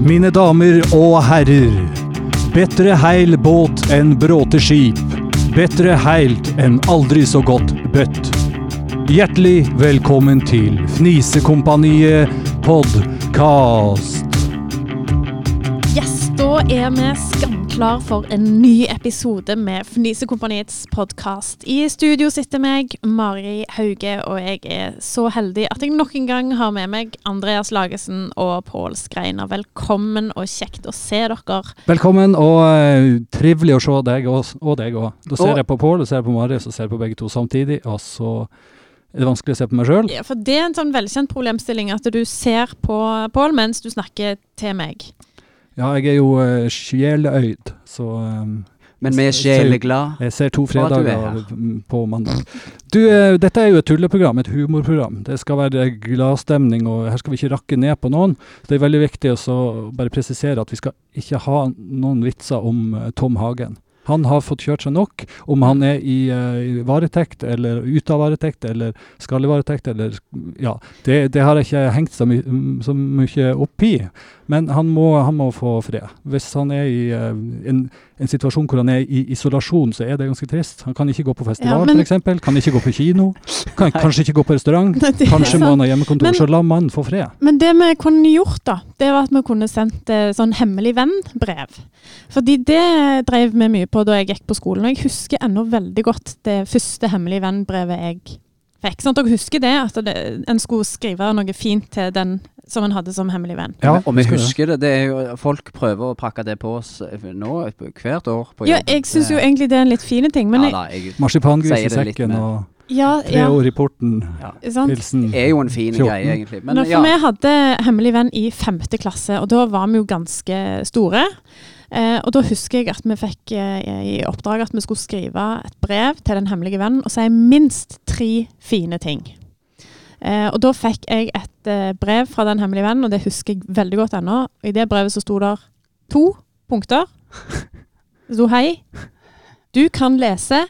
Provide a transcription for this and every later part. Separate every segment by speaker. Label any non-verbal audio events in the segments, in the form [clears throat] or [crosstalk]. Speaker 1: Mine damer og herrer. Bedre heil båt enn bråte skip. Bedre heilt enn aldri så godt bøtt. Hjertelig velkommen til Fnisekompaniet podkast.
Speaker 2: Yes, da er vi skamklar for en ny episode med Fnisekompaniets podkast. I studio sitter meg, Mari Hauge, og jeg er så heldig at jeg nok en gang har med meg Andreas Lagesen og Pål Skreiner. Velkommen og kjekt å se dere.
Speaker 1: Velkommen, og eh, trivelig å se deg og, og deg òg. Da ser
Speaker 3: Og-
Speaker 1: jeg på Pål, og ser jeg på Mari, så ser jeg på begge to samtidig. Og så er det vanskelig å se på meg sjøl.
Speaker 2: Ja, for det er en sånn velkjent problemstilling at du ser på Pål mens du snakker til meg.
Speaker 1: Ja, jeg er jo eh, sjeløyd, så eh,
Speaker 3: Men vi er sjeleglad.
Speaker 1: Jeg ser to
Speaker 3: For at du er
Speaker 1: fredager mm, på mandag. Du, eh, dette er jo et tulleprogram, et humorprogram. Det skal være gladstemning, og her skal vi ikke rakke ned på noen. Så det er veldig viktig å så bare presisere at vi skal ikke ha noen vitser om eh, Tom Hagen. Han har fått kjørt seg nok. Om han er i, eh, i varetekt, eller ute av varetekt, eller skal i varetekt, eller Ja. Det, det har jeg ikke hengt så, my mm, så mye opp i. Men han må, han må få fred. Hvis han er i eh, en en situasjon hvor han er i isolasjon, så er det ganske trist. Han kan ikke gå på festival,
Speaker 2: Ja,
Speaker 1: for
Speaker 2: men-
Speaker 1: f.eks. Kan ikke gå på
Speaker 2: [laughs]
Speaker 1: kino. Kan kanskje ikke gå på restaurant.
Speaker 2: Nei, det er [laughs]
Speaker 1: Kanskje må
Speaker 2: sant.
Speaker 1: han ha hjemmekontor.
Speaker 2: Men-
Speaker 1: så la mannen få fred.
Speaker 2: Men det vi kunne gjort, da, det var at vi kunne sendt eh, sånn hemmelig venn-brev. Fordi det drev vi mye på da jeg gikk på skolen. Og jeg husker ennå veldig godt det første hemmelig venn-brevet jeg fikk. Sånn at dere husker det, at det, en skulle skrive noe fint til den som en hadde som hemmelig venn.
Speaker 1: Ja,
Speaker 3: og vi
Speaker 1: skal det.
Speaker 3: husker det. det er jo, folk prøver å pakke det på oss eh, nå hvert år. På
Speaker 2: Ja,
Speaker 3: jobb.
Speaker 2: jeg syns jo egentlig det er en litt fin ting, men
Speaker 3: ja,
Speaker 2: jeg,
Speaker 3: da, jeg,
Speaker 1: Marsipangris i
Speaker 3: Sier det litt
Speaker 1: sekken
Speaker 3: mer.
Speaker 1: og
Speaker 2: ja,
Speaker 1: tre
Speaker 2: ja,
Speaker 1: år i porten.
Speaker 2: sant?
Speaker 1: Hilsen
Speaker 3: det er jo en fin
Speaker 1: 14.
Speaker 3: greie, egentlig. Men
Speaker 2: Nå, for
Speaker 3: ja,
Speaker 2: Vi hadde hemmelig venn i femte klasse, og da var vi jo ganske store. Eh, og da husker jeg at vi fikk eh, i oppdrag at vi skulle skrive et brev til den hemmelige vennen og si minst tre fine ting. Eh, og da fikk jeg et eh, brev fra den hemmelige vennen, og det husker jeg veldig godt ennå. Og I det brevet så sto der to punkter. Det sto hei. Du kan lese.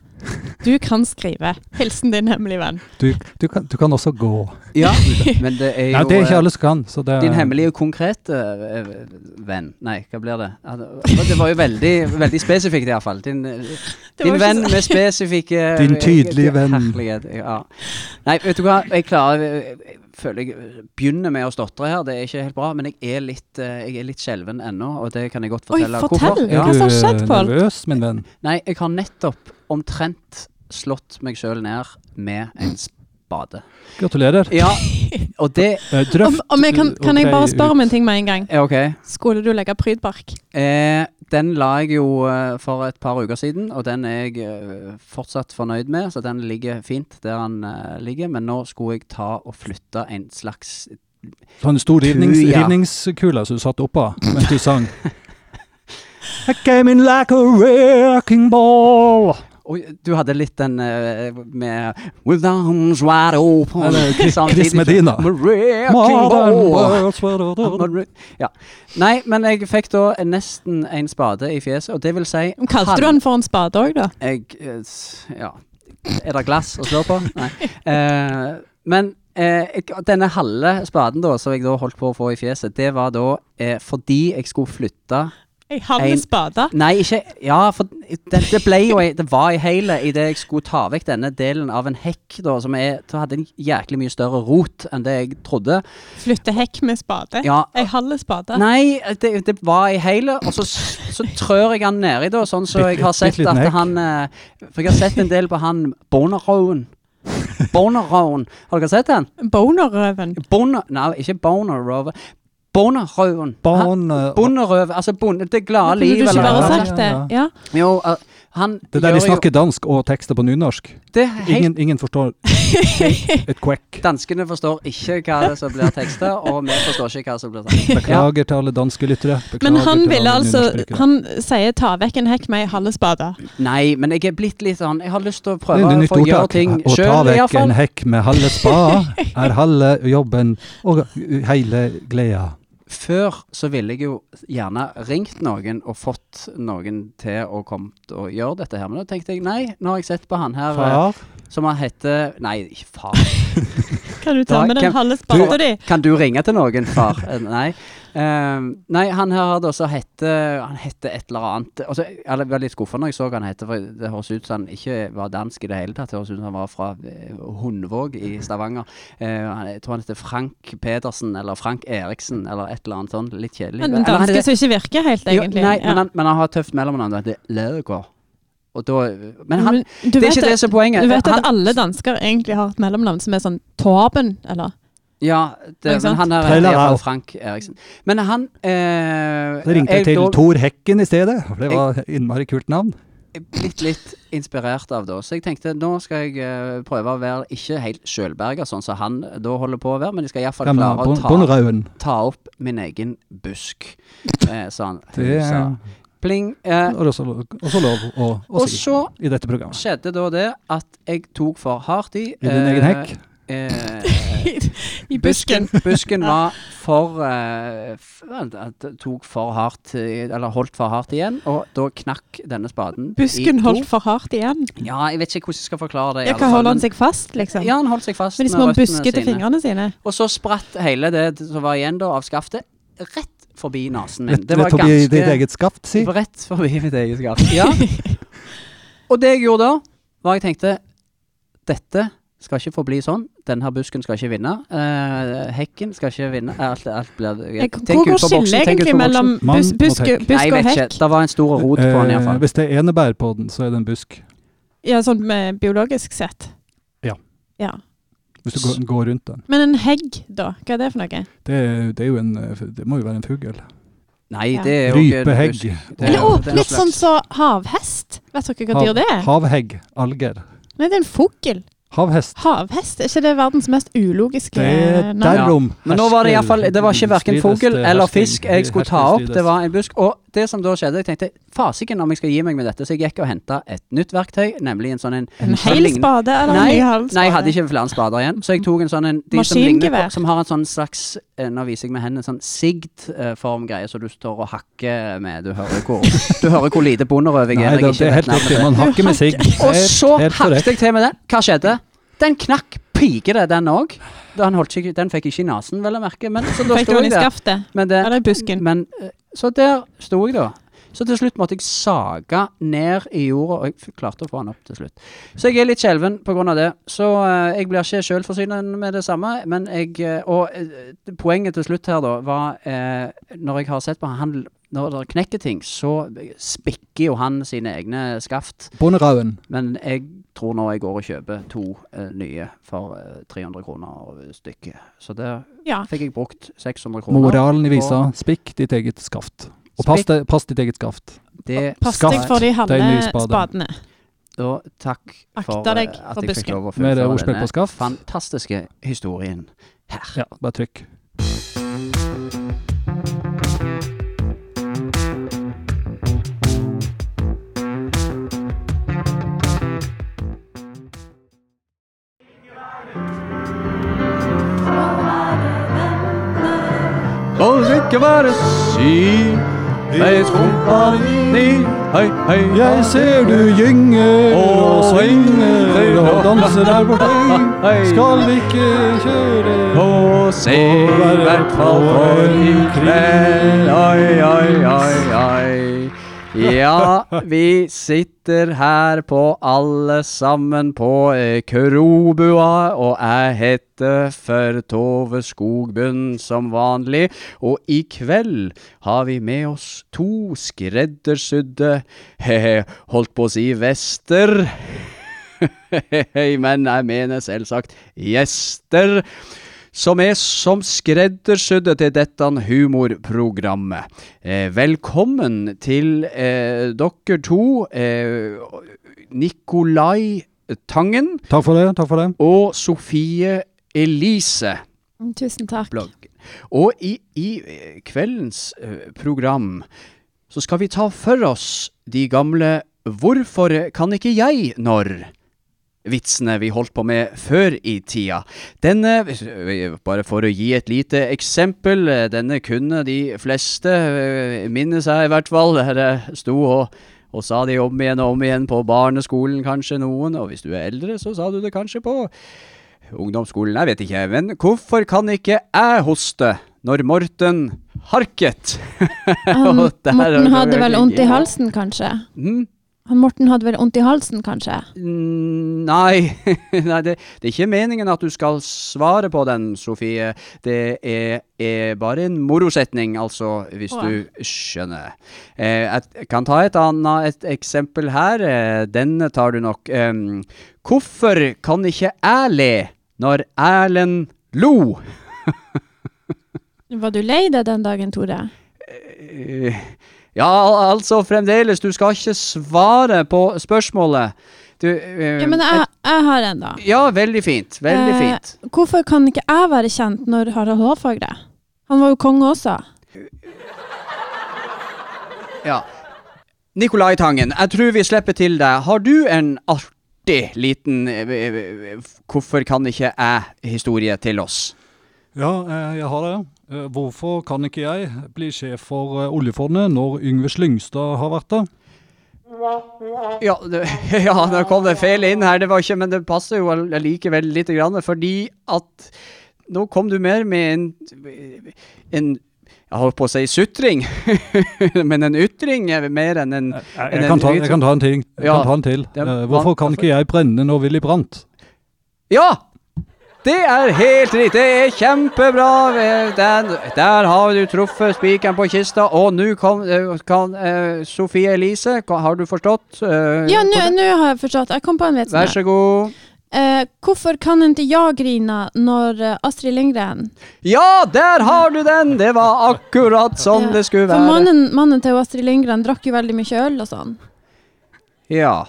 Speaker 2: Du kan skrive. Hilsen din hemmelige venn.
Speaker 1: Du, du, kan, du kan også gå.
Speaker 3: ja, men det
Speaker 1: [laughs]
Speaker 3: er jo
Speaker 1: Nei, det er
Speaker 3: eh,
Speaker 1: ikke alle som kan. Så det,
Speaker 3: din hemmelige og konkrete eh, venn Nei, hva blir det? Ja, det- Det var jo veldig, veldig spesifikt, iallfall. Din, eh,
Speaker 2: Det var
Speaker 3: din
Speaker 2: ikke
Speaker 3: venn
Speaker 2: så- [laughs]
Speaker 3: med spesifikke
Speaker 1: Din tydelige venn.
Speaker 3: Herlighet. Ja. Nei, vet du hva. Jeg klarer Jeg føler jeg begynner med å stotre her. Det er ikke helt bra. Men jeg er litt, eh, jeg er litt skjelven ennå, og det kan jeg godt
Speaker 2: Oi,
Speaker 3: fortelle.
Speaker 2: fortell.
Speaker 3: Hvorfor?
Speaker 1: Er
Speaker 2: Hva
Speaker 3: Ja.
Speaker 1: du
Speaker 2: som har skjedd,
Speaker 1: eh,
Speaker 2: Pål?
Speaker 1: nervøs, min venn?
Speaker 3: Nei, jeg har nettopp omtrent slått meg sjøl ned med en
Speaker 2: [laughs]
Speaker 3: spade.
Speaker 1: Gratulerer.
Speaker 3: Ja, og det
Speaker 1: Eh,
Speaker 2: Om,
Speaker 1: Drøft
Speaker 2: om jeg kan, kan jeg
Speaker 1: ok,
Speaker 2: bare spørre om
Speaker 1: ut.
Speaker 2: en ting med en gang?
Speaker 3: er OK.
Speaker 2: Skulle du legge prydbark?
Speaker 3: Eh, den la jeg jo eh, for et par uker siden, og den er jeg eh, fortsatt fornøyd med. Så den ligger fint der den eh, ligger, men nå skulle jeg ta og flytte en slags
Speaker 1: Sånn stor rivnings,
Speaker 3: Tuja.
Speaker 1: rivningskule som du satt oppå mens du
Speaker 3: [laughs]
Speaker 1: sang. I came in like a wrecking ball.
Speaker 3: Oi, du hadde litt den eh, med With arms wide open
Speaker 1: Eller Chris- Chris
Speaker 3: samtidig.
Speaker 1: Medina.
Speaker 3: Wrecking
Speaker 1: Modern
Speaker 3: ball.
Speaker 1: world's world.
Speaker 3: Ja. Nei, men jeg fikk da en- nesten en spade i fjeset, og det vil si
Speaker 2: Kalte du den for en spade òg, da?
Speaker 3: Jeg, eh, s- ja. Er det glass å slå på? Nei. Eh, men eh, jeg- denne halve spaden da, som jeg da holdt på å få i fjeset, det var da eh, fordi jeg skulle flytte
Speaker 2: Jeg har med
Speaker 3: En-
Speaker 2: spade.
Speaker 3: Nei, ikke Ja, for det, det ble jo ei- Det var i hele idet jeg skulle ta vekk denne delen av en hekk, da, som er, som hadde en jæklig mye større rot enn det jeg trodde.
Speaker 2: Flytte hekk med spade.
Speaker 3: Ja,
Speaker 2: Jeg halve spade.
Speaker 3: Nei, det, det var i hele, og så, så trør jeg han nedi, da, sånn så jeg har sett
Speaker 1: Bitte liten
Speaker 3: at
Speaker 1: hekk.
Speaker 3: han eh, For jeg har sett en del på han Boneroen. Boneroen. Har dere sett han?
Speaker 2: Bonerøven.
Speaker 3: Boner... Nei, ikke Boneroen. Boneroen. Han-
Speaker 1: Barn eh,
Speaker 3: Bonderøven. Altså bonde, det glade
Speaker 2: Kunne du
Speaker 3: livet.
Speaker 2: ikke
Speaker 3: eller
Speaker 2: bare
Speaker 3: hva det
Speaker 1: ja,
Speaker 2: sagt det?
Speaker 1: ja,
Speaker 2: Ja.
Speaker 3: er. Jo, eh, han
Speaker 1: Det der de
Speaker 3: gjør jo-
Speaker 1: snakker dansk og tekster på nynorsk.
Speaker 3: Det er helt
Speaker 1: Ingen, ingen
Speaker 3: [laughs]
Speaker 1: forstår et kvekk.
Speaker 3: Danskene forstår ikke hva det er som blir teksta, og vi forstår ikke hva som blir sagt. Ja.
Speaker 1: Beklager til alle danske lyttere.
Speaker 2: Men
Speaker 1: Beklager
Speaker 2: han
Speaker 1: til
Speaker 2: ville
Speaker 1: alle
Speaker 2: altså
Speaker 1: nynorskbrukere.
Speaker 2: Han sier 'ta vekk en hekk med ei halve spade'.
Speaker 3: Nei, men jeg er blitt litt sånn Jeg har lyst til å
Speaker 1: det
Speaker 3: prøve
Speaker 1: er et
Speaker 3: å
Speaker 1: nytt
Speaker 3: få gjøre
Speaker 1: ordtak.
Speaker 3: ting
Speaker 1: Å ta
Speaker 3: sjøl,
Speaker 1: vekk en
Speaker 3: iallfall.
Speaker 1: hekk med halve
Speaker 3: [laughs]
Speaker 1: spa er halve jobben og hele gleda.
Speaker 3: Før så ville jeg jo gjerne ringt noen og fått noen til å komme og gjøre dette her. Men da tenkte jeg nei, nå har jeg sett på han her eh,
Speaker 1: Far,
Speaker 3: som han heter Nei, ikke far.
Speaker 2: Kan du ta
Speaker 3: Da-
Speaker 2: med den
Speaker 3: hvem-
Speaker 2: halve
Speaker 3: Du-
Speaker 2: spaden din?
Speaker 3: Kan du ringe til noen, far? Eh, Nei. Ehm, nei, han her har det også hette Han heter et eller annet altså, Jeg var litt skuffa når jeg så hva han hette, for det høres ut som han ikke var dansk i det hele tatt. Det høres ut som han var fra eh, Hundvåg i Stavanger. Eh, han- jeg tror han heter Frank Pedersen eller Frank Eriksen eller et eller annet sånn. Litt kjedelig.
Speaker 2: Men
Speaker 3: Eller han heter-
Speaker 2: danske som ikke virker helt,
Speaker 3: Jo,
Speaker 2: egentlig.
Speaker 3: nei,
Speaker 2: Ja.
Speaker 3: men, han, men han har et tøft mellomnavn. Det heter Laugård. Og da Men han
Speaker 2: Men du
Speaker 3: Det er
Speaker 2: vet
Speaker 3: ikke det som er poenget.
Speaker 2: Du vet
Speaker 3: han,
Speaker 2: at alle dansker egentlig har et mellomnavn som er sånn Torben, eller?
Speaker 3: ja, det,
Speaker 2: Ikke
Speaker 3: men
Speaker 2: sant?
Speaker 3: han er
Speaker 1: Taylor
Speaker 3: i hvert
Speaker 1: Rau.
Speaker 3: fall Frank Eriksen. Men han eh,
Speaker 1: Så ringte jeg til
Speaker 3: da-
Speaker 1: Tor Hekken i stedet, for det var innmari kult navn.
Speaker 3: blitt litt inspirert av det. Så jeg tenkte nå skal jeg eh, prøve å være ikke helt sjølberga, sånn som han da holder på å være, men jeg skal iallfall
Speaker 1: Gamle
Speaker 3: klare å
Speaker 1: Bon-
Speaker 3: ta,
Speaker 1: Bonrauen.
Speaker 3: ta opp min egen busk, eh, sa han.
Speaker 1: Det er
Speaker 3: Sa. Pling. Eh,
Speaker 1: og også, også lov å, å
Speaker 3: og
Speaker 1: si
Speaker 3: så
Speaker 1: i dette programmet.
Speaker 3: skjedde da det at jeg tok for hardt i.
Speaker 1: I din
Speaker 3: eh,
Speaker 1: egen hekk.
Speaker 3: Eh,
Speaker 2: [laughs] I
Speaker 3: Busken,
Speaker 2: [laughs]
Speaker 3: busken var for eh, f- at- Tok for hardt eh, Eller holdt for hardt igjen, og da knakk denne spaden
Speaker 2: Busken
Speaker 3: i to.
Speaker 2: holdt for hardt igjen.
Speaker 3: Ja, jeg vet ikke hvordan jeg skal forklare det. i
Speaker 2: Ja, hva
Speaker 3: alle fall,
Speaker 2: holder han
Speaker 3: men-
Speaker 2: seg fast, liksom?
Speaker 3: Ja, han holdt seg fast
Speaker 2: Med de
Speaker 3: med,
Speaker 2: små
Speaker 3: røttene
Speaker 2: buskete
Speaker 3: sine.
Speaker 2: fingrene sine?
Speaker 3: Og så spratt hele det som var igjen da av skaftet, rett forbi nesen min.
Speaker 1: Rett,
Speaker 3: Det var
Speaker 1: rett forbi ditt
Speaker 3: ganske
Speaker 1: eget skaft, si.
Speaker 3: Rett forbi mitt eget
Speaker 2: [laughs]
Speaker 3: skaft. Ja. Og det jeg gjorde da, var jeg tenkte Dette skal ikke forbli sånn. Denne her busken skal ikke vinne. Eh, hekken skal ikke vinne. Eh, Alt, alt blir
Speaker 2: Jeg,
Speaker 3: Tenk
Speaker 2: hvor
Speaker 3: ut
Speaker 2: går
Speaker 3: for boksen,
Speaker 2: skillet
Speaker 3: tenk ut
Speaker 2: egentlig
Speaker 3: for
Speaker 2: mellom
Speaker 1: Mann
Speaker 2: bus,
Speaker 1: og
Speaker 2: busk,
Speaker 1: hekk.
Speaker 3: boksen. Nei,
Speaker 2: busk
Speaker 3: jeg
Speaker 2: og
Speaker 3: vet
Speaker 2: hekk?
Speaker 3: ikke. Det var en stor rot på den
Speaker 1: Eh,
Speaker 3: iallfall.
Speaker 1: hvis det er enebær på den, så er det en busk.
Speaker 2: Ja, sånn eh, biologisk sett.
Speaker 1: Ja.
Speaker 2: ja.
Speaker 1: Hvis du går, går rundt den.
Speaker 2: Men en hegg, da? Hva er det for noe?
Speaker 1: Det, er- det, er jo en, eh, det må jo være en fugl.
Speaker 3: Nei,
Speaker 2: Ja.
Speaker 3: det er jo ikke en
Speaker 1: Rypehegg.
Speaker 3: busk. Det er
Speaker 2: Eller
Speaker 3: jo-
Speaker 2: å,
Speaker 3: det er en
Speaker 2: litt sånn
Speaker 3: slags-
Speaker 2: som havhest. Vet dere hva
Speaker 1: Hav-
Speaker 2: dyr det er?
Speaker 1: Havhegg. Alger.
Speaker 2: Nei, det er en fugl.
Speaker 1: Havhest.
Speaker 2: Havhest, er ikke det verdens mest ulogiske
Speaker 1: Det er
Speaker 2: navn?
Speaker 1: derom.
Speaker 3: Men nå var det
Speaker 1: hersker-
Speaker 3: iallfall Det var ikke verken
Speaker 1: strides,
Speaker 3: fugl
Speaker 1: det
Speaker 3: eller
Speaker 1: hersking-
Speaker 3: fisk jeg skulle ta
Speaker 1: hersking
Speaker 3: opp. Det
Speaker 1: strides.
Speaker 3: var en busk. Og det som da skjedde, jeg tenkte fasiken om jeg skal gi meg med dette. Så jeg gikk og henta et nytt verktøy, nemlig en sånn en
Speaker 2: En
Speaker 3: som
Speaker 2: hel
Speaker 3: lign-
Speaker 2: spade eller en
Speaker 3: Nei,
Speaker 2: ny halv spade?
Speaker 3: Nei, jeg hadde ikke flere spader igjen. Så jeg tok en sånn en de som,
Speaker 2: Maskingevær.
Speaker 3: ligner på, som har en sånn slags eh, Nå viser jeg med hendene en sånn sigd-formgreie som du står og hakker med. Du hører
Speaker 2: [laughs]
Speaker 3: hvor, du hører hvor lite bonderøv jeg
Speaker 1: Nei,
Speaker 3: er.
Speaker 1: det, det
Speaker 3: når jeg ikke
Speaker 1: er
Speaker 3: vet
Speaker 1: helt
Speaker 3: navnet
Speaker 1: riktig.
Speaker 3: på det.
Speaker 1: Man hakker med sigg. [laughs]
Speaker 3: Og
Speaker 1: Helt-
Speaker 3: så
Speaker 1: helt korrekt.
Speaker 3: hakket jeg til med den. Hva skjedde? Den knakk pike det, den òg. Den, holdt ikke- den fikk ikke i nesen, vel å merke. Men så da
Speaker 2: Fikk du
Speaker 3: sto
Speaker 2: den
Speaker 3: jeg
Speaker 2: i
Speaker 3: der.
Speaker 2: skaftet?
Speaker 3: Men det,
Speaker 2: Eller i busken?
Speaker 3: men, eh, så der sto jeg, da. Så til slutt måtte jeg sage ned i jorda, og jeg f- klarte å få den opp til slutt. Så jeg er litt skjelven pga. det. Så eh, jeg blir ikke sjølforsynende med det samme. Men jeg, eh, og eh, poenget til slutt her, da, var eh, Når jeg har sett på han Når det knekker ting, så spikker jo han sine egne skaft.
Speaker 1: Bonderauen.
Speaker 3: Men jeg tror nå jeg går og kjøper to eh, nye for eh, 300 kroner stykket. Så der
Speaker 2: Ja.
Speaker 3: fikk jeg brukt 600 kroner.
Speaker 1: Moralen i visa. Spikk ditt eget skaft. Og pass,
Speaker 3: Spikk.
Speaker 1: deg- pass ditt eget skaft.
Speaker 3: Det
Speaker 2: Pass
Speaker 1: Skaft.
Speaker 2: deg for de halve
Speaker 1: Det er en ny spade.
Speaker 2: spadene.
Speaker 3: Da takk for
Speaker 2: Akta
Speaker 3: eh,
Speaker 2: deg
Speaker 3: at
Speaker 2: for
Speaker 3: jeg fikk
Speaker 2: busken.
Speaker 3: lov å
Speaker 1: Med det
Speaker 3: fullføre
Speaker 1: ordspill på
Speaker 3: denne
Speaker 1: skaff.
Speaker 3: fantastiske historien her.
Speaker 1: Ja, bare trykk.
Speaker 4: Skal ikke være syk Deres kompani Hei, hei,
Speaker 1: Jeg ser du gynger og svinger og danser der borte. Skal vi ikke kjøre
Speaker 4: Og se i hvert fall for i kveld Oi, oi, oi, oi
Speaker 3: Ja, vi sitter her på alle sammen på eh, Krobua, og jeg heter for Tove Skogbunn som vanlig. Og i kveld har vi med oss to skreddersydde, [laughs] he-he, holdt på å si vester. [laughs] Men jeg mener selvsagt gjester. Som er som skreddersydde til dette humorprogrammet. Eh, velkommen til eh, dere to, eh, Nikolai Tangen
Speaker 1: Takk for det. takk for det.
Speaker 3: og Sofie Elise.
Speaker 2: Tusen takk.
Speaker 3: Blogg. Og i, i eh, kveldens eh, program så skal vi ta for oss de gamle 'Hvorfor kan ikke jeg når?' Vitsene vi holdt på med før i tida. Denne, eh, bare for å gi et lite eksempel, eh, denne kunne de fleste eh, minne seg i hvert fall. Der eh, sto og, og sa de om igjen og om igjen på barneskolen, kanskje noen. Og hvis du er eldre, så sa du det kanskje på ungdomsskolen, jeg vet ikke, men hvorfor kan ikke jeg hoste når Morten harket. [laughs]
Speaker 2: [laughs] Han,
Speaker 3: Og der har
Speaker 2: Um, Morten
Speaker 3: du
Speaker 2: hadde vel
Speaker 3: virkelig-
Speaker 2: vondt i halsen, kanskje?
Speaker 3: Mm.
Speaker 2: Han Morten hadde vel vondt i halsen, kanskje?
Speaker 3: Mm, Nei, [laughs] Nei det, det er ikke meningen at du skal svare på den, Sofie. Det er, er bare en morosetning, altså, hvis
Speaker 2: Åh.
Speaker 3: du skjønner. Eh, jeg kan ta et annet et eksempel her. Eh, den tar du nok. Em, hvorfor kan ikke jeg le når Erlend lo?
Speaker 2: Var du lei deg den dagen, Tore?
Speaker 3: Eh, Ja, al- altså fremdeles, du skal ikke svare på spørsmålet. Du, eh,
Speaker 2: Ja, men jeg, jeg har en, da.
Speaker 3: ja, veldig fint. Veldig
Speaker 2: Eh,
Speaker 3: fint.
Speaker 2: Hvorfor kan ikke jeg være kjent når Harald Hårfagre? Han var jo konge også.
Speaker 3: Ja. Nikolai Tangen, jeg tror vi slipper til deg. Har du en artig liten eh, eh, eh, Hvorfor kan ikke jeg-historie til oss?
Speaker 1: Ja, eh, jeg har det. Eh, Hvorfor kan ikke jeg bli sjef for eh, oljefondet når Yngve Slyngstad har vært det?
Speaker 3: Ja, det, [laughs] ja, da kom det feil inn her, det var ikke, men det passer jo all- allikevel lite grann, fordi at Nå kom du mer med en, en Jeg holdt på å si sutring, [laughs] men en ytring er mer enn en
Speaker 1: Jeg,
Speaker 3: Men
Speaker 1: jeg,
Speaker 3: en
Speaker 1: kan, ta, jeg kan ta en ting. Jeg
Speaker 3: eh, Ja.
Speaker 1: kan ta en til.
Speaker 3: Ja,
Speaker 1: Eh,
Speaker 3: hva-
Speaker 1: Hvorfor kan ikke jeg brenne når Willy Brandt?
Speaker 3: Ja! Det er helt riktig. Det er kjempebra. Eh, Den, der har du truffet spikeren på kista. Og nå kom- eh, kan eh, Sofie Elise ka- Har du forstått? Eh,
Speaker 2: Ja, nå nå har jeg forstått. Jeg kom på en vits.
Speaker 3: Vær
Speaker 2: nå.
Speaker 3: så god.
Speaker 2: Eh, hvorfor kan ikke jeg grine når eh, Astrid Lindgren
Speaker 3: Ja, der har du den! Det var akkurat sånn
Speaker 2: Ja,
Speaker 3: det skulle
Speaker 2: For
Speaker 3: være.
Speaker 2: mannen, mannen til Astrid Lindgren drakk jo veldig mye øl og sånn.
Speaker 3: Ja.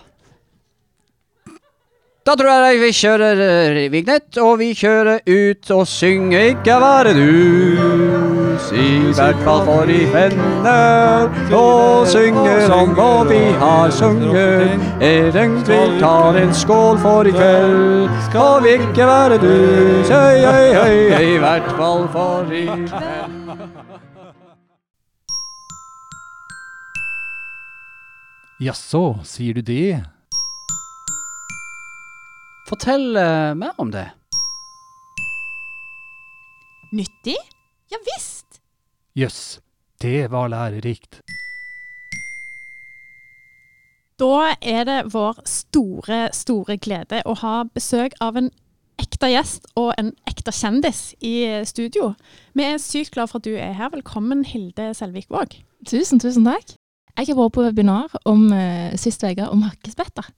Speaker 3: Da tror jeg vi kjører eh, vignett, og vi kjører ut og synger 'Ikke være dus', i hvert fall for de venner. Og synger om hva vi har sunget. Egentlig tar en skål for i kveld. Skal vi ikke være dus, høy, høy, høy, i hvert fall for i kveld.
Speaker 1: Jaså, sier du det?
Speaker 3: Fortell eh, mer om det.
Speaker 5: Nyttig? Ja visst!
Speaker 1: Jøss, det var lærerikt.
Speaker 2: Da er det vår store, store glede å ha besøk av en ekte gjest og en ekte kjendis i studio. Vi er sykt glad for at du er her. Velkommen, Hilde Selvik Våg.
Speaker 6: Tusen, tusen takk. Jeg har vært på webinar om, eh, sist uke om hakkespetter.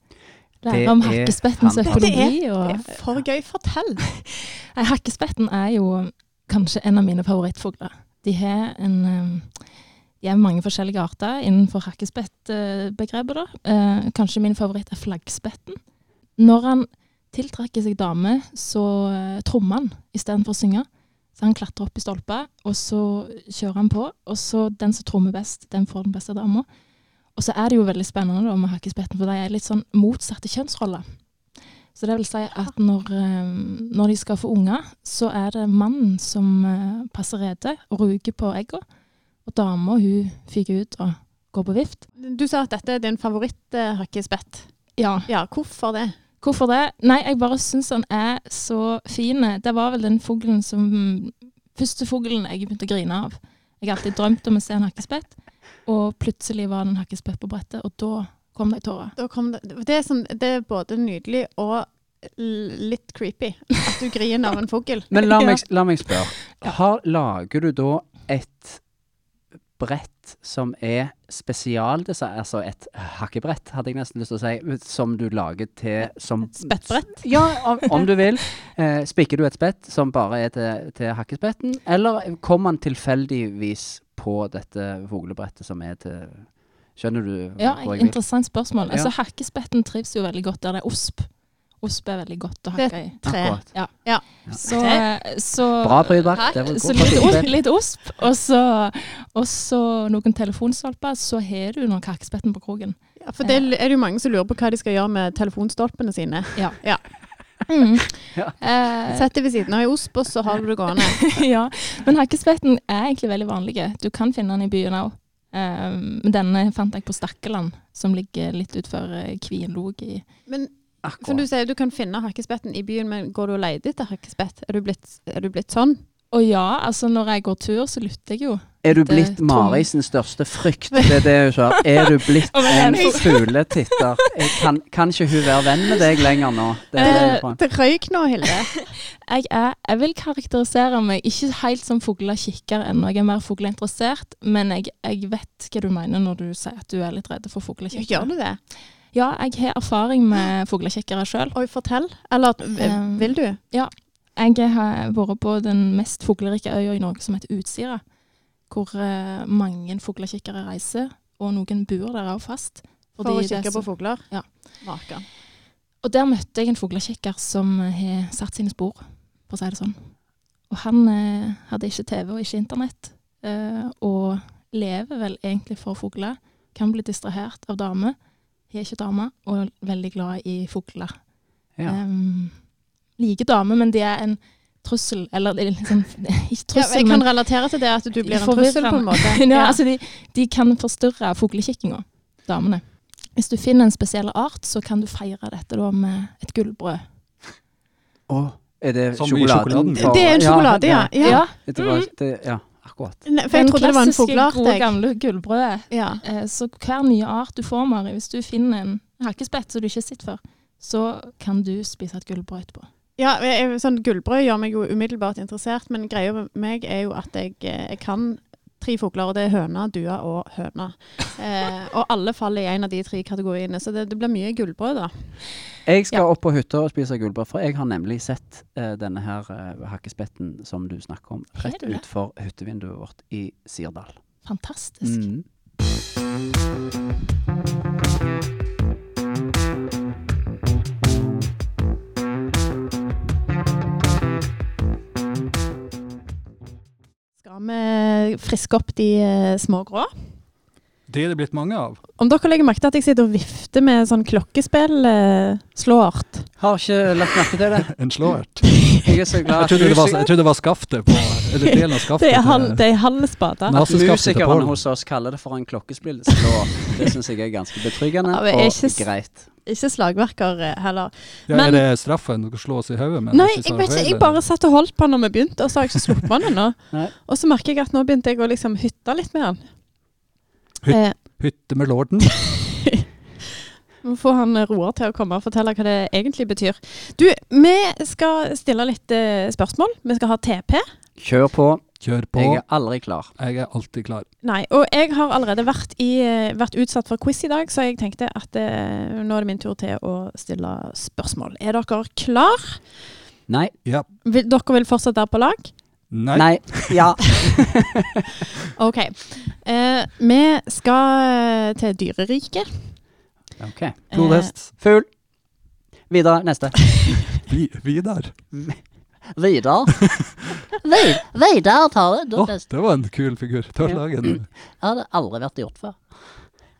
Speaker 3: Det
Speaker 6: Lære om
Speaker 3: er
Speaker 6: hakkespettens
Speaker 2: fantastisk.
Speaker 6: økologi. Og,
Speaker 2: Det er Eh, for gøy. Fortell.
Speaker 6: [laughs] Nei, hakkespetten er jo kanskje en av mine favorittfugler. De har en eh, de er mange forskjellige arter innenfor hakkespettbegrepet. da. Eh, Kanskje min favoritt er flaggspetten. Når han tiltrekker seg dame, så eh, trommer han istedenfor å synge. Så han klatrer opp i stolpa, og så kjører han på. Og så den som trommer best, den får den beste dama. Og så er det jo veldig spennende da med hakkespetten, for de er litt sånn motsatte kjønnsroller. Så det vil si at når, eh, når de skal få unger, så er det mannen som eh, passer rede og ruger på egga, og dama hun fyker ut og går på vift.
Speaker 2: Du sa at dette er din favoritthakkespett.
Speaker 6: Ja,
Speaker 2: Ja, hvorfor det?
Speaker 6: hvorfor det? Nei, jeg bare syns han er så fin. Det var vel den fuglen som Første fuglen jeg begynte å grine av. Jeg har alltid drømt om å se en hakkespett, og plutselig var det en hakkespett på brettet, og da kom det ei tåre.
Speaker 2: Da kom det, det, er sånn, det er både nydelig og l- litt creepy at du griner av en fugl.
Speaker 3: [laughs] Men la
Speaker 2: [laughs]
Speaker 6: Ja.
Speaker 3: meg, la meg spørre. Har, lager du da et brett som er spesialdesign, altså et hakkebrett, hadde jeg nesten lyst til å si, som du lager til som
Speaker 2: Spettbrett.
Speaker 3: Ja, om, om du vil. Eh, spikker du et spett som bare er til, til hakkespetten, eller kom han tilfeldigvis på dette voglebrettet som er til Skjønner du
Speaker 6: Ja,
Speaker 3: hvor jeg vil?
Speaker 6: interessant spørsmål. Altså,
Speaker 3: Ja.
Speaker 6: Hakkespetten trives jo veldig godt der det er osp. Osp er veldig godt å
Speaker 2: Det-
Speaker 6: hakke i.
Speaker 2: Tre.
Speaker 3: Akkurat.
Speaker 6: Så, så,
Speaker 3: Bra, Brydberg. Det var
Speaker 6: så
Speaker 3: god
Speaker 6: litt,
Speaker 3: forsiktighet.
Speaker 6: osp, litt osp, og så, og så noen telefonstolper, så har du nok hakkespetten på kroken.
Speaker 2: Ja, for
Speaker 3: Eh.
Speaker 2: det er det jo mange som lurer på hva de skal gjøre med telefonstolpene sine.
Speaker 6: [laughs] Mm.
Speaker 3: Ja.
Speaker 6: Eh,
Speaker 2: Sett det ved siden av i Osp, og så har du det [laughs] gående.
Speaker 6: [laughs] ja. Men hakkespetten er egentlig veldig vanlig. Du kan finne den i byen òg. Men denne fant jeg på Stakkeland, som ligger litt utenfor eh, Kvinlog i
Speaker 2: Men som du
Speaker 3: Akkurat.
Speaker 2: sier, du kan finne hakkespetten i byen, men går du og leter etter hakkespett? Er du blitt, er du blitt sånn?
Speaker 6: Og ja, altså når jeg går tur, så lytter jeg jo.
Speaker 3: Er du
Speaker 6: Det er
Speaker 2: eh,
Speaker 3: blitt
Speaker 6: tom.
Speaker 3: Maris sin største frykt? Det er det hun sa. Er du
Speaker 2: [laughs]
Speaker 3: blitt
Speaker 6: Å,
Speaker 3: en
Speaker 6: men jeg-
Speaker 3: fugletitter? Jeg Kan, kan ikke hun være venn med deg lenger nå? Det er det hun prøver.
Speaker 2: Eh, Det røyk nå, [laughs] Hilde.
Speaker 6: Jeg, er, jeg vil karakterisere meg ikke helt som fuglekikker ennå, jeg er mer fugleinteressert. Men jeg, jeg vet hva du mener når du sier at du er litt redd for
Speaker 2: Gjør
Speaker 6: fuglekikkere.
Speaker 2: du det?
Speaker 6: Ja, jeg har erfaring med fuglekikkere sjøl.
Speaker 2: Oi, fortell. Eller
Speaker 6: Eh,
Speaker 2: vil du?
Speaker 6: Jeg har vært på den mest fuglerike øya i Norge som heter Utsira. Hvor eh, mange fuglekikkere reiser, og noen bor der òg fast.
Speaker 2: For å
Speaker 6: fordi det er
Speaker 2: kikke
Speaker 6: så-
Speaker 2: på fugler?
Speaker 6: Ja.
Speaker 2: Maken.
Speaker 6: Og der møtte jeg en fuglekikker som eh, har satt sine spor, for å si det sånn. Og han eh, hadde ikke TV og ikke internett, eh, og lever vel egentlig for fugler. Kan bli distrahert av damer, har ikke damer, og er veldig glad i fugler.
Speaker 3: Ja.
Speaker 2: eh.
Speaker 6: Em, liker damer, men de er en trussel, eller det er liksom, [laughs] ikke
Speaker 2: Ja,
Speaker 6: trussel,
Speaker 2: jeg kan
Speaker 6: men
Speaker 2: relatere til det at du blir en
Speaker 6: Forvirrende.
Speaker 2: trussel på en måte.
Speaker 6: [laughs]
Speaker 2: [laughs]
Speaker 6: ja, altså de, de kan forstyrre fuglekikkinga, damene. Hvis du finner en spesiell art, så kan du feire dette da med et gullbrød.
Speaker 3: Å, er det
Speaker 1: Som i
Speaker 3: sjokoladen?
Speaker 1: sjokoladen.
Speaker 3: for-
Speaker 2: Det er en sjokolade, ja. Mm. ja.
Speaker 3: Det var, det, ja, akkurat.
Speaker 2: Ne, For jeg
Speaker 6: Den
Speaker 2: trodde det var en
Speaker 6: klassiske,
Speaker 2: fugleart.
Speaker 6: gode,
Speaker 2: jeg.
Speaker 6: gamle gullbrødet.
Speaker 2: Ja.
Speaker 6: Eh, Så hver nye art du får, Mari, hvis du finner en hakkespett som du ikke har sett før, så kan du spise et gullbrød etterpå.
Speaker 2: Ja, jeg- jeg- sånn Gullbrød gjør meg jo umiddelbart interessert, men greia med meg er jo at jeg, eh, jeg kan tre fugler, og det er høna, dua og høna. Eh, og alle faller i en av de tre kategoriene, så det, det blir mye gullbrød, da.
Speaker 3: Jeg skal opp på hytta og spise gullbrød, for jeg har nemlig sett eh, denne her eh, hakkespetten som du snakker om,
Speaker 6: Har
Speaker 3: rett
Speaker 6: du det?
Speaker 3: utfor hyttevinduet vårt i Sirdal.
Speaker 6: Fantastisk.
Speaker 3: Mm.
Speaker 2: Skal vi friske opp de eh, små grå?
Speaker 1: Det er det blitt mange av.
Speaker 2: Om dere legger merke til at jeg sitter og vifter med sånn eh,
Speaker 3: [laughs]
Speaker 2: klokkespill-slåart.
Speaker 3: Har ikke lagt merke til det.
Speaker 1: [laughs] En slåert.
Speaker 3: Jeg er så
Speaker 1: Jeg
Speaker 3: glad at
Speaker 1: trodde det var,
Speaker 3: musik-
Speaker 1: jeg trodde det var skaftet på Eller delen av skaftet.
Speaker 2: det er halv,
Speaker 1: til-
Speaker 2: det er halv spade.
Speaker 1: Nå- Masse altså skaftet til
Speaker 3: musikerne
Speaker 1: Pål.
Speaker 3: hos oss kaller det for en klokkespill. Så det syns jeg er ganske betryggende
Speaker 2: Ja, men er
Speaker 3: og
Speaker 2: ikke s-
Speaker 3: greit.
Speaker 2: Ikke slagverker eh, heller.
Speaker 1: Ja,
Speaker 2: Men-
Speaker 1: er det straffen? Dere slås i hodet? men
Speaker 2: Nei,
Speaker 1: ikke sånn
Speaker 2: jeg
Speaker 1: så
Speaker 2: vet ikke,
Speaker 1: høyde?
Speaker 2: jeg bare satt og holdt på den når vi begynte, og så har jeg ikke sluppet den ennå.
Speaker 3: Nei.
Speaker 2: Og så merker jeg at nå begynte jeg å liksom hytte litt med den.
Speaker 1: Hyt-
Speaker 2: Eh,
Speaker 1: Hytte med lorden?
Speaker 2: Vi må få han eh, Roar til å komme og fortelle hva det egentlig betyr. Du, vi skal stille litt eh, spørsmål. Vi skal ha TP.
Speaker 3: Kjør på.
Speaker 1: Kjør på.
Speaker 3: Jeg er aldri klar.
Speaker 1: Jeg er alltid klar.
Speaker 2: Nei, og jeg har allerede vært, i, eh, vært utsatt for quiz i dag, så jeg tenkte at eh, nå er det min tur til å stille spørsmål. Er dere klar?
Speaker 3: Nei.
Speaker 1: Ja.
Speaker 2: Vil, dere vil fortsatt være på lag?
Speaker 1: Nei.
Speaker 3: Nei. Ja.
Speaker 2: OK. Eh, vi skal eh, til dyreriket.
Speaker 3: [laughs] OK.
Speaker 2: Eh.
Speaker 1: Blodhest.
Speaker 3: Fugl. Videre. [laughs] Neste.
Speaker 1: Vi, Vidar.
Speaker 3: [laughs]
Speaker 4: Vidar. Vi- Vidar tar det.
Speaker 1: Å,
Speaker 4: Da-
Speaker 1: det var en kul figur. Tør lage en.
Speaker 4: Det hadde aldri vært gjort før.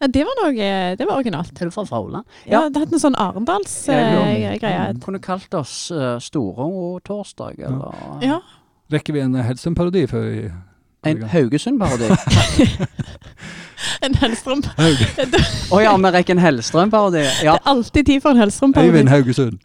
Speaker 2: Ja, det var noe Det var originalt.
Speaker 4: Er du fra Froland?
Speaker 2: Ja,
Speaker 3: Ja.
Speaker 2: det hadde en sånn eh,
Speaker 3: Ja,
Speaker 2: Arendals-greie.
Speaker 3: Kunne kalt oss uh, Storetorsdag, eller
Speaker 2: ja.
Speaker 1: [clears throat] Rekker vi en Hellstrøm-parodi før vi
Speaker 3: En Haugesund-parodi. Å
Speaker 2: En Hellstrøm. Det
Speaker 3: ja, vi rekker en Hellstrøm-parodi. Ja.
Speaker 2: er alltid tid for en Hellstrøm-parodi.
Speaker 1: Øyvind Haugesund.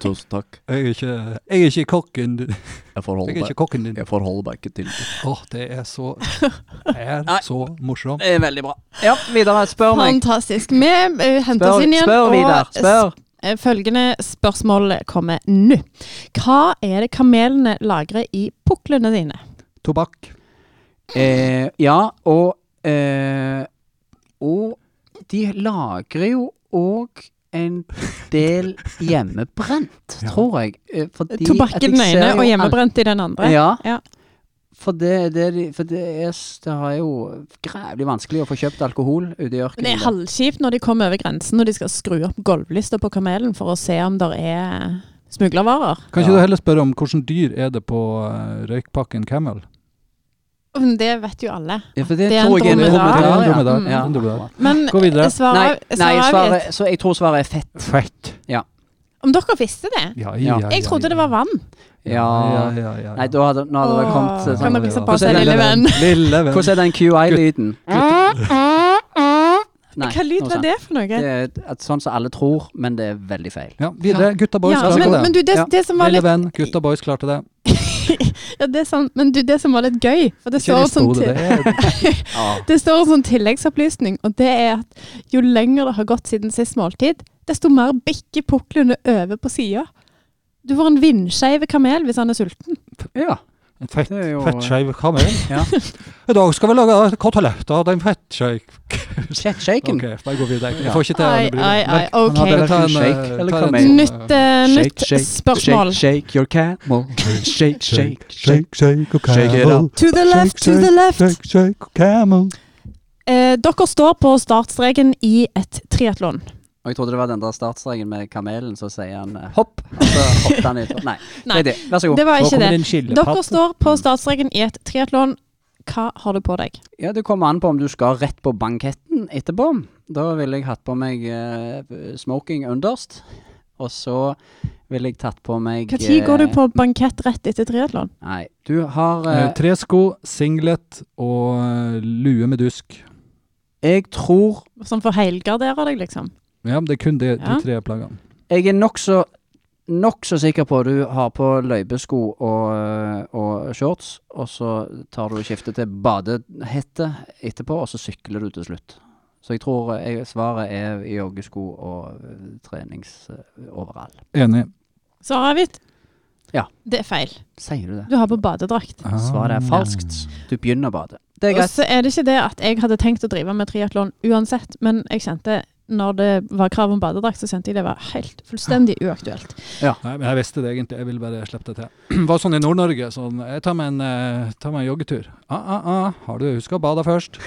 Speaker 4: Tusen takk.
Speaker 1: Jeg er ikke, jeg er ikke kokken din.
Speaker 4: Jeg
Speaker 1: Jeg
Speaker 4: forholder
Speaker 1: er ikke kokken din. Åh,
Speaker 4: meg ikke til det.
Speaker 1: det er så Det er
Speaker 3: Nei.
Speaker 1: så morsomt.
Speaker 3: Det er veldig bra. Ja, videre. Spør meg.
Speaker 2: Fantastisk. Vi eh, henter oss
Speaker 3: Spør,
Speaker 2: inn igjen.
Speaker 3: spør Vidar.
Speaker 2: og
Speaker 3: Spør.
Speaker 2: s- eh, Følgende spørsmål kommer nå. Hva er det kamelene lagrer i puklene dine?
Speaker 1: Tobakk.
Speaker 3: Eh, ja, og eh, Og de lagrer jo òg en del hjemmebrent,
Speaker 1: Ja.
Speaker 3: tror jeg. Eh, Fordi
Speaker 2: Tobakk
Speaker 3: at
Speaker 2: i
Speaker 3: jeg
Speaker 2: den
Speaker 3: ser
Speaker 2: ene
Speaker 3: jo
Speaker 2: og
Speaker 3: alt-
Speaker 2: hjemmebrent i den andre.
Speaker 3: Ja.
Speaker 2: Ja.
Speaker 3: For det, det, er de- for det er s- Det har jo grævlig vanskelig å få kjøpt alkohol ute i ørkenen.
Speaker 2: Det er halvkjipt når de kommer over grensen og de skal skru opp gulvlista på kamelen for å se om det er smuglervarer.
Speaker 1: Kan
Speaker 3: Ja.
Speaker 1: ikke du heller spørre om hvilket dyr er det på eh, røykpakken Camel?
Speaker 2: Men Det vet jo alle.
Speaker 3: ja, for det,
Speaker 2: det er en
Speaker 3: tror jeg er en
Speaker 2: dromedar.
Speaker 3: dromedar.
Speaker 1: Det er en dromedar,
Speaker 3: Ja.
Speaker 1: en dromedar.
Speaker 2: Men
Speaker 1: Gå videre.
Speaker 3: Nei,
Speaker 2: Mm. svaret
Speaker 3: nei
Speaker 2: svaret
Speaker 3: svaret, så jeg tror svaret er fett.
Speaker 1: Fett.
Speaker 2: Om dere visste det?
Speaker 1: Ja, ja, ja.
Speaker 2: Jeg trodde det var vann.
Speaker 3: Ja.
Speaker 1: ja, ja, ja, ja.
Speaker 3: Nei, da hadde, nå hadde det kommet
Speaker 2: Åh.
Speaker 3: til
Speaker 2: Kan
Speaker 3: sånn
Speaker 2: vi pisse på
Speaker 3: oss,
Speaker 1: Hvordan er
Speaker 3: lille
Speaker 1: den- Lille venn.
Speaker 3: Hvordan er den QI-lyden? Nei,
Speaker 2: Hva lyd
Speaker 3: noe
Speaker 2: var
Speaker 3: sånt.
Speaker 2: det for noe?
Speaker 3: Det er et- sånn som alle tror, men det er veldig feil.
Speaker 1: sånn- Ja, videre. Gutta boys
Speaker 2: Ja,
Speaker 1: klarte
Speaker 2: men,
Speaker 1: det.
Speaker 2: men du, det,
Speaker 3: Ja.
Speaker 2: det som var
Speaker 1: Lille
Speaker 2: litt
Speaker 1: venn, gutta boys klarte det.
Speaker 2: Ja, det er sant. Men du, det som var litt gøy for det
Speaker 1: Ikke
Speaker 2: står,
Speaker 1: rist
Speaker 2: sånn
Speaker 1: hodet,
Speaker 2: til,
Speaker 1: det er
Speaker 3: Ja.
Speaker 2: det står en sånn tilleggsopplysning, og det er at jo lenger det har gått siden sist måltid, desto mer bikker puklene over på sida. Du får en vindskeiv kamel hvis han er sulten.
Speaker 3: ja.
Speaker 4: En fett,
Speaker 3: Det er jo-
Speaker 4: fettskeiv kamel.
Speaker 3: Ja.
Speaker 4: I dag skal vi lage koteletter av den fettskeiv...
Speaker 3: Kjøttshaken.
Speaker 1: Ok,
Speaker 2: Eh,
Speaker 1: bare gå videre. Jeg
Speaker 3: Ja.
Speaker 1: får ikke til
Speaker 2: Ai,
Speaker 1: det. blir-
Speaker 2: ai, ai.
Speaker 1: Men
Speaker 2: Ok.
Speaker 1: hadde jeg
Speaker 3: Det er
Speaker 1: ta en,
Speaker 3: verken shake
Speaker 1: eh,
Speaker 3: eller
Speaker 1: ta en
Speaker 3: kamel.
Speaker 1: sånn,
Speaker 2: Nytt, eh, nytt spørsmål.
Speaker 3: Shake, shake
Speaker 2: [laughs]
Speaker 3: your camel. Shake, shake, shake.
Speaker 4: Shake, shake og
Speaker 3: Shake it
Speaker 4: camel.
Speaker 2: To the left, to the left.
Speaker 4: Shake, shake og camel.
Speaker 2: Eh, dere står på startstreken i et triatlon.
Speaker 3: Og jeg trodde det var den der startstreken med kamelen, så sier han eh, hopp. Og så hoppet han ut. Nei.
Speaker 2: [laughs] Nei.
Speaker 3: Det er det. Vær så god.
Speaker 2: Det var
Speaker 1: Nå
Speaker 2: ikke
Speaker 1: kommer
Speaker 2: det.
Speaker 1: det en
Speaker 2: Dere
Speaker 1: skillepatt.
Speaker 2: står på startstreken i et triatlon. Hva har du på deg?
Speaker 3: Ja, Det kommer an på om du skal rett på banketten etterpå. Da ville jeg hatt på meg eh, smoking underst. Og så ville jeg tatt på meg
Speaker 2: Når går du
Speaker 3: eh,
Speaker 2: på bankett rett etter triatlon?
Speaker 3: Nei, du har eh,
Speaker 1: Eh, Tre sko, singlet og eh, lue med dusk.
Speaker 3: Jeg tror
Speaker 2: Sånn for å helgardere deg, liksom?
Speaker 1: Ja, det er kun det,
Speaker 2: Ja.
Speaker 1: de tre plaggene.
Speaker 3: Jeg er nokså nok så sikker på at du har på løypesko og, eh, og shorts, og så tar du og skifter til badehette etterpå, og så sykler du til slutt. Så jeg tror eh, jeg, svaret er joggesko og eh, trenings eh, overall.
Speaker 1: Enig.
Speaker 2: Svaret er hvitt.
Speaker 3: Ja.
Speaker 2: Det er feil.
Speaker 3: Sier du det?
Speaker 2: Du har på badedrakt.
Speaker 3: Svaret er falskt. Du begynner å bade. Ah. Det
Speaker 2: Og
Speaker 3: er greit.
Speaker 2: så er det ikke det at jeg hadde tenkt å drive med triatlon uansett, men jeg kjente når det var krav om badedrakt, så kjente jeg det var helt fullstendig uaktuelt.
Speaker 1: Nei, men jeg visste det egentlig, jeg ville bare slippe det til. [clears throat] Var sånn i Nord-Norge, sånn Jeg tar meg en, eh, tar meg en joggetur. Ah, ah, ah, har du huska å bade først?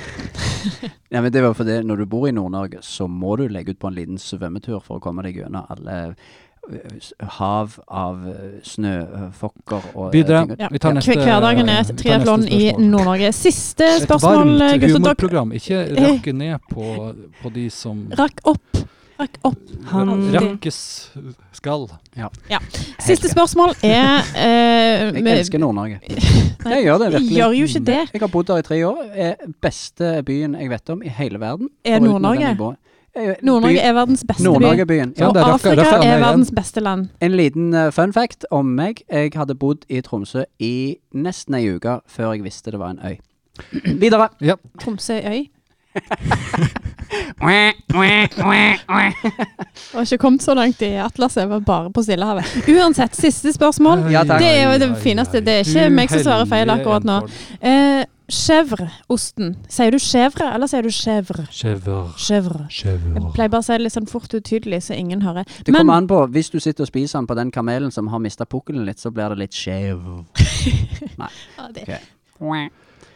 Speaker 3: Ja, men det var fordi når du bor i Nord-Norge, så må du legge ut på en liten svømmetur for å komme deg gjennom alle eh, s- hav av eh, snøfokker og eh,
Speaker 1: Videre.
Speaker 3: ting.
Speaker 1: Vi tar neste
Speaker 2: Hver- Hverdagen er et
Speaker 1: vi tar neste
Speaker 2: triatlon i
Speaker 1: spørsmål.
Speaker 2: Nord-Norge. Siste
Speaker 1: Et
Speaker 2: spørsmål, eh,
Speaker 1: varmt
Speaker 2: gutter. Dere
Speaker 1: humorprogram. Ikke rakke ned på, på de som
Speaker 2: Eh. rakk opp. Rakk opp.
Speaker 3: Han-
Speaker 1: rakkes skal.
Speaker 2: Siste spørsmål er eh,
Speaker 3: [laughs] Jeg
Speaker 2: med-
Speaker 3: elsker Nord-Norge.
Speaker 2: [laughs] Nei,
Speaker 3: Jeg gjør det
Speaker 2: vi
Speaker 3: virkelig.
Speaker 2: gjør jo ikke det.
Speaker 3: Jeg har bodd der i tre år. Er beste byen jeg vet om i hele verden.
Speaker 2: Er
Speaker 3: foruten
Speaker 2: Nord-Norge?
Speaker 3: den jeg bor i. Eh,
Speaker 2: Nord-Norge
Speaker 3: by-
Speaker 2: er verdens beste by.
Speaker 3: Nord-Norge-byen.
Speaker 1: Ja,
Speaker 3: Ja.
Speaker 2: Og
Speaker 1: det er rakka-
Speaker 2: Afrika
Speaker 1: rakka ned
Speaker 2: er
Speaker 1: igjen.
Speaker 2: verdens beste land.
Speaker 3: En liten eh, fun fact om meg. Jeg hadde bodd i Tromsø i nesten ei uke før jeg visste det var en øy. [clears throat] Videre.
Speaker 2: Tromsø er øy.
Speaker 3: Ja,
Speaker 2: Og ikke kommet så langt i Atlaset, var bare på Stillehavet. [laughs] Uansett, siste spørsmål.
Speaker 3: Ja, takk.
Speaker 2: Det er jo det fineste. Det er ikke meg som svarer feil akkurat nå. Eh, Chèvre-osten. Sier du chèvre, eller sier du chèvre?
Speaker 1: Chevre.
Speaker 2: Chèvre. Jeg
Speaker 1: Chevre.
Speaker 2: pleier bare å si det litt sånn fort og utydelig, så ingen hører.
Speaker 3: Det
Speaker 2: Men-
Speaker 3: kommer
Speaker 2: [laughs]
Speaker 3: an på. Hvis du sitter og spiser den på den kamelen som har mista pukkelen litt, så blir det litt skjev.
Speaker 2: Ja, det-
Speaker 3: Ok.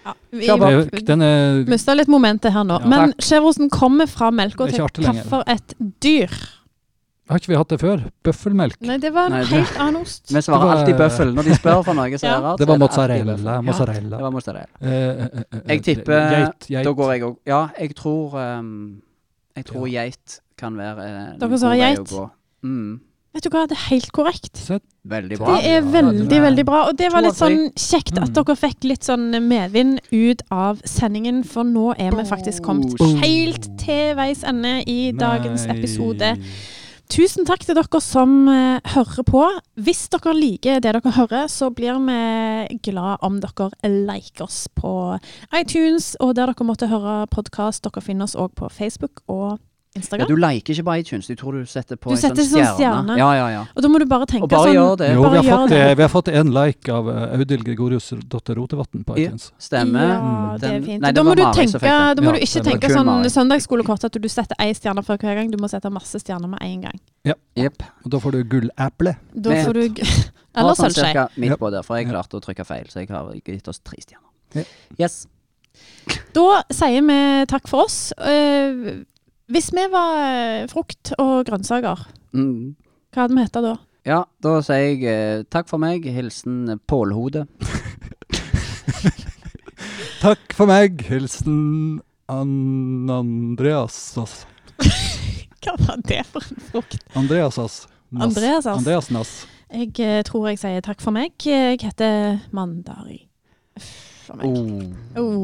Speaker 2: Ja,
Speaker 1: eh,
Speaker 2: vi
Speaker 1: Den er
Speaker 2: mista litt momentet her nå.
Speaker 1: Ja.
Speaker 2: Men chèvreosten kommer fra melka
Speaker 1: Det er
Speaker 2: til
Speaker 1: ikke artig lenger.
Speaker 2: hvorfor et dyr?
Speaker 1: Har ikke vi hatt det før? Bøffelmelk.
Speaker 2: Nei, det var en
Speaker 3: Nei, det-
Speaker 2: helt annen ost.
Speaker 3: Vi svarer
Speaker 1: var-
Speaker 3: alltid bøffel når de spør for noe som
Speaker 2: Ja.
Speaker 3: er rart.
Speaker 1: Det var
Speaker 3: så er alltid
Speaker 1: mozzarella.
Speaker 3: bøffel. Ja,
Speaker 1: mozzarella.
Speaker 3: det var mozzarella.
Speaker 1: Eh, eh, eh, eh,
Speaker 3: Jeg tipper-
Speaker 1: Geit. geit.
Speaker 3: Da går jeg òg. Ja, jeg tror ehm, Jeg tror geit kan være eh, en
Speaker 2: Dere
Speaker 3: god
Speaker 2: svarer
Speaker 3: vei å
Speaker 2: geit?
Speaker 3: gå. Mm.
Speaker 2: Vet du hva, det er helt korrekt.
Speaker 1: Sett.
Speaker 3: Veldig bra.
Speaker 2: Det er veldig, veldig bra. Og det var
Speaker 3: To av Mm.
Speaker 2: litt sånn kjekt at dere fikk litt sånn medvind ut av sendingen, for nå er vi faktisk kommet
Speaker 1: Boom.
Speaker 2: helt til veis ende i dagens
Speaker 1: Nei.
Speaker 2: episode. Tusen takk til dere som eh, hører på. Hvis dere liker det dere hører, så blir vi glad om dere liker oss på iTunes, og der dere måtte høre podkast. Dere finner oss òg på Facebook og
Speaker 3: Ja,
Speaker 2: Instagram.
Speaker 3: du liker ikke på iTunes. Jeg tror du setter på
Speaker 2: Du
Speaker 3: en
Speaker 2: setter sånn stjerne.
Speaker 3: Ja, ja, ja.
Speaker 2: Og da må du bare
Speaker 3: Og
Speaker 2: tenke
Speaker 3: bare
Speaker 2: sånn
Speaker 3: gjør det.
Speaker 1: Jo,
Speaker 2: Bare
Speaker 1: vi har,
Speaker 2: gjør
Speaker 1: fått,
Speaker 2: det.
Speaker 1: eh, vi har fått en like av eh, Audhild Gregorius dotter Rotevatn på
Speaker 3: Ja.
Speaker 1: iTunes.
Speaker 3: Stemmer.
Speaker 2: Ja, det er
Speaker 3: mm, Den-
Speaker 2: fint.
Speaker 3: Nei, det
Speaker 2: da må,
Speaker 3: var
Speaker 2: du
Speaker 3: Mari som
Speaker 2: tenke,
Speaker 3: fikk den.
Speaker 2: da må
Speaker 1: Ja,
Speaker 2: du ikke
Speaker 1: det var
Speaker 2: tenke
Speaker 3: kun
Speaker 2: sånn
Speaker 3: Mari.
Speaker 2: søndagsskolekort at du setter én stjerne før hver gang. Du må sette masse stjerner med en gang.
Speaker 3: Jepp.
Speaker 1: Og da får du gulleple.
Speaker 2: Da
Speaker 3: Med-
Speaker 2: får du g-
Speaker 3: Eller
Speaker 2: Eller sånn sølvskje.
Speaker 3: Cirka midt
Speaker 1: Ja.
Speaker 3: på der, for jeg
Speaker 1: Ja.
Speaker 3: klarte å trykke feil, så jeg har gitt oss tre
Speaker 1: Ja.
Speaker 3: stjerner. Yes.
Speaker 2: [laughs] Da sier vi takk for oss. Eh, Hvis vi var eh, frukt og grønnsaker,
Speaker 3: Mm.
Speaker 2: hva hadde vi hett da?
Speaker 3: Ja, da sier jeg eh, takk for meg. Hilsen Pålhode.
Speaker 1: Takk for meg. Hilsen Ann Andreasas.
Speaker 2: Hva var det for en frukt?
Speaker 1: Andreasas. Nass.
Speaker 2: Andreasas.
Speaker 1: Andreas Nass.
Speaker 2: Jeg eh, tror jeg sier takk for meg. Jeg heter Mandari. For meg.
Speaker 3: Oh.
Speaker 2: Oh.